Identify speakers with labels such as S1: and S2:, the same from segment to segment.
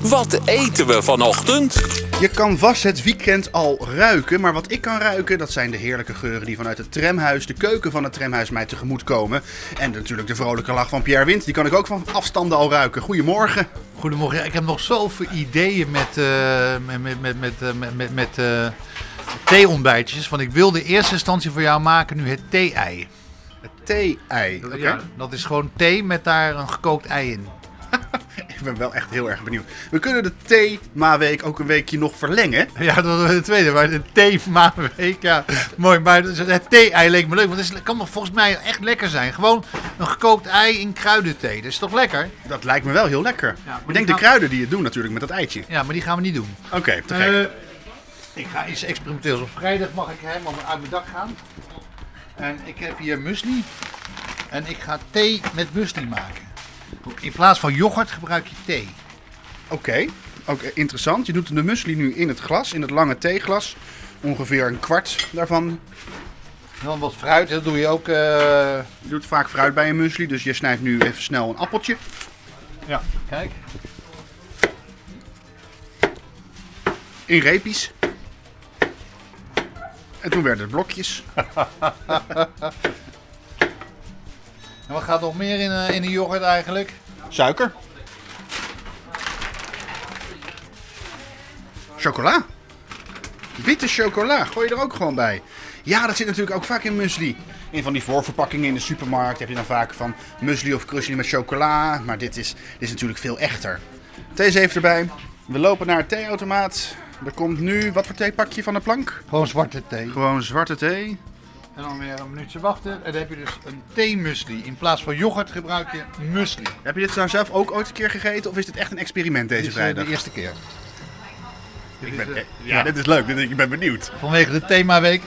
S1: Wat eten we vanochtend?
S2: Je kan vast het weekend al ruiken, maar wat ik kan ruiken, dat zijn de heerlijke geuren die vanuit het tramhuis, de keuken van het tramhuis mij tegemoet komen. En natuurlijk de vrolijke lach van Pierre Wind, die kan ik ook van afstanden al ruiken. Goedemorgen.
S3: Goedemorgen. Ja, Ik heb nog zoveel ideeën met, eh, met, met, met, met, eh, met, met, met eh, theeontbijtjes. Want ik wilde in eerste instantie voor jou maken nu het thee-ei.
S2: Het thee-ei. Oké.
S3: Ja, dat is gewoon thee met daar een gekookt ei in.
S2: Ik ben wel echt heel erg benieuwd. We kunnen de thema-week ook een weekje nog verlengen.
S3: Ja, dat was de tweede. Maar de thee week, ja, mooi. Maar dus het thee-ei leek me leuk. Want het is- kan volgens mij echt lekker zijn. Gewoon een gekookt ei in kruidenthee. Dat is toch lekker?
S2: Dat lijkt me wel heel lekker.
S3: maar
S2: ik
S3: die
S2: denk de
S3: gaan-
S2: kruiden die het doen natuurlijk met dat eitje.
S3: Ja, maar die gaan we niet doen.
S2: Oké, te gek.
S3: Eh, ik ga iets experimenteels. Op vrijdag mag ik helemaal uit mijn dak gaan. En ik heb hier muesli. En ik ga thee met muesli maken. In plaats van yoghurt gebruik je thee.
S2: Oké, ook eh, interessant. Je doet de muesli nu in het glas, in het lange theeglas. Ongeveer een kwart daarvan.
S3: En dan wat fruit, dat doe je ook. eh,
S2: Je doet vaak fruit bij een muesli, dus je snijdt nu even snel een appeltje.
S3: Ja, kijk.
S2: In reepjes. En toen werden het blokjes.
S3: En wat gaat er nog meer in, eh, in de yoghurt eigenlijk?
S2: Suiker. Chocola. Witte chocola. Gooi je er ook gewoon bij. Ja, dat zit natuurlijk ook vaak in muesli. In van die voorverpakkingen in de supermarkt heb je dan vaak van muesli of krusli met chocola. Maar dit is, dit is natuurlijk veel echter. Deze heeft erbij. We lopen naar het theeautomaat. Er komt nu, wat voor thee pak je van de plank?
S3: Gewoon zwarte thee.
S2: Gewoon zwarte thee.
S3: En dan weer een minuutje wachten. En dan heb je dus een thee-muesli. In plaats van yoghurt gebruik je muesli.
S2: Heb je dit nou zelf ook ooit een keer gegeten? Of is dit echt een experiment deze
S3: Dit is eh,
S2: vrijdag?
S3: de eerste keer.
S2: Ik ben- eh, ja, dit is leuk. Dit- Ik ben benieuwd.
S3: Vanwege de themaweek.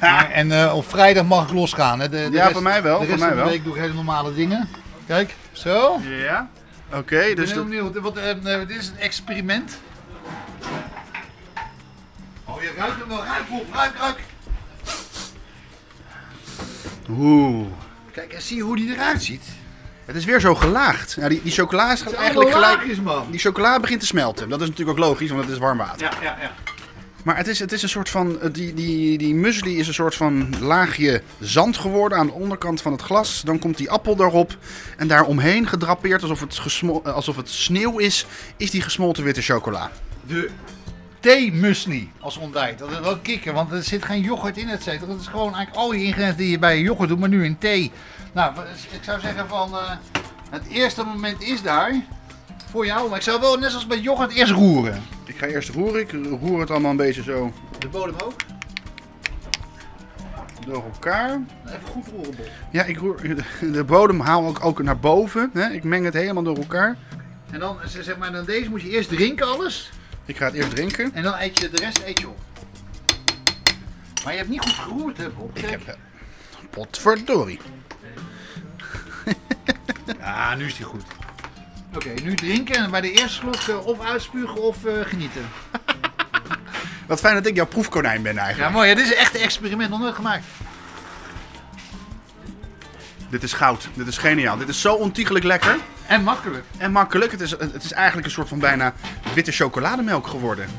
S3: Maar- en eh, op vrijdag mag ik losgaan. Hè. De, de
S2: Ja,
S3: rest-
S2: voor mij wel,
S3: De
S2: voor
S3: rest
S2: mij
S3: van de
S2: wel.
S3: week doe ik hele normale dingen. Kijk, zo. Ik
S2: Ja. Oké,
S3: ben
S2: dus
S3: heel
S2: dat...
S3: benieuwd. Wat, eh, eh, dit is een experiment. Oh, je ruikt hem wel. Ruik, Rob. Ruik, ruik.
S2: Oeh.
S3: Kijk, en zie je hoe die eruit ziet?
S2: Het is weer zo gelaagd. Ja, die, die chocola is
S3: Het zijn
S2: eigenlijk
S3: allemaal
S2: gelijk...
S3: laagjes, man.
S2: Die chocola begint te smelten. Dat is natuurlijk ook logisch, want het is warm water.
S3: Ja, ja, ja.
S2: Maar het is, het is een soort van... eh, Die, die, die muesli is een soort van laagje zand geworden aan de onderkant van het glas. Dan komt die appel daarop. En daar omheen gedrapeerd, alsof het, gesmo- eh, alsof het sneeuw is, is die gesmolten witte chocola.
S3: De thee-muesli als ontbijt. Dat is wel kicken, want er zit geen yoghurt in, et cetera. Dat is gewoon eigenlijk al die ingrediënten die je bij je yoghurt doet, maar nu in thee. Nou, ik zou zeggen van, eh, het eerste moment is daar voor jou. Maar ik zou wel, net zoals bij yoghurt, eerst roeren.
S2: Ik ga eerst roeren. Ik roer het allemaal een beetje zo
S3: De bodem ook.
S2: door elkaar.
S3: Even goed roeren, Bob.
S2: Ja, ik roer, de bodem haal ik ook naar boven. Hè? Ik meng het helemaal door elkaar.
S3: En dan, eh, zeg maar, dan deze moet je eerst drinken alles.
S2: Ik ga het eerst drinken.
S3: En dan eet je de rest eet je op. Maar je hebt niet goed geroerd, hè, Bob.
S2: Ik heb... eh, Potverdorie.
S3: Ja, Ah, nu is die goed. Oké, nu drinken en bij de eerste slok eh, of uitspugen of eh, genieten.
S2: Wat fijn dat ik jouw proefkonijn ben eigenlijk.
S3: Ja, mooi. hè? Dit is echt een experiment nog nooit gemaakt.
S2: Dit is goud. Dit is geniaal. Dit is zo ontiegelijk lekker
S3: En makkelijk.
S2: en makkelijk. Het is, het is eigenlijk een soort van bijna witte chocolademelk geworden.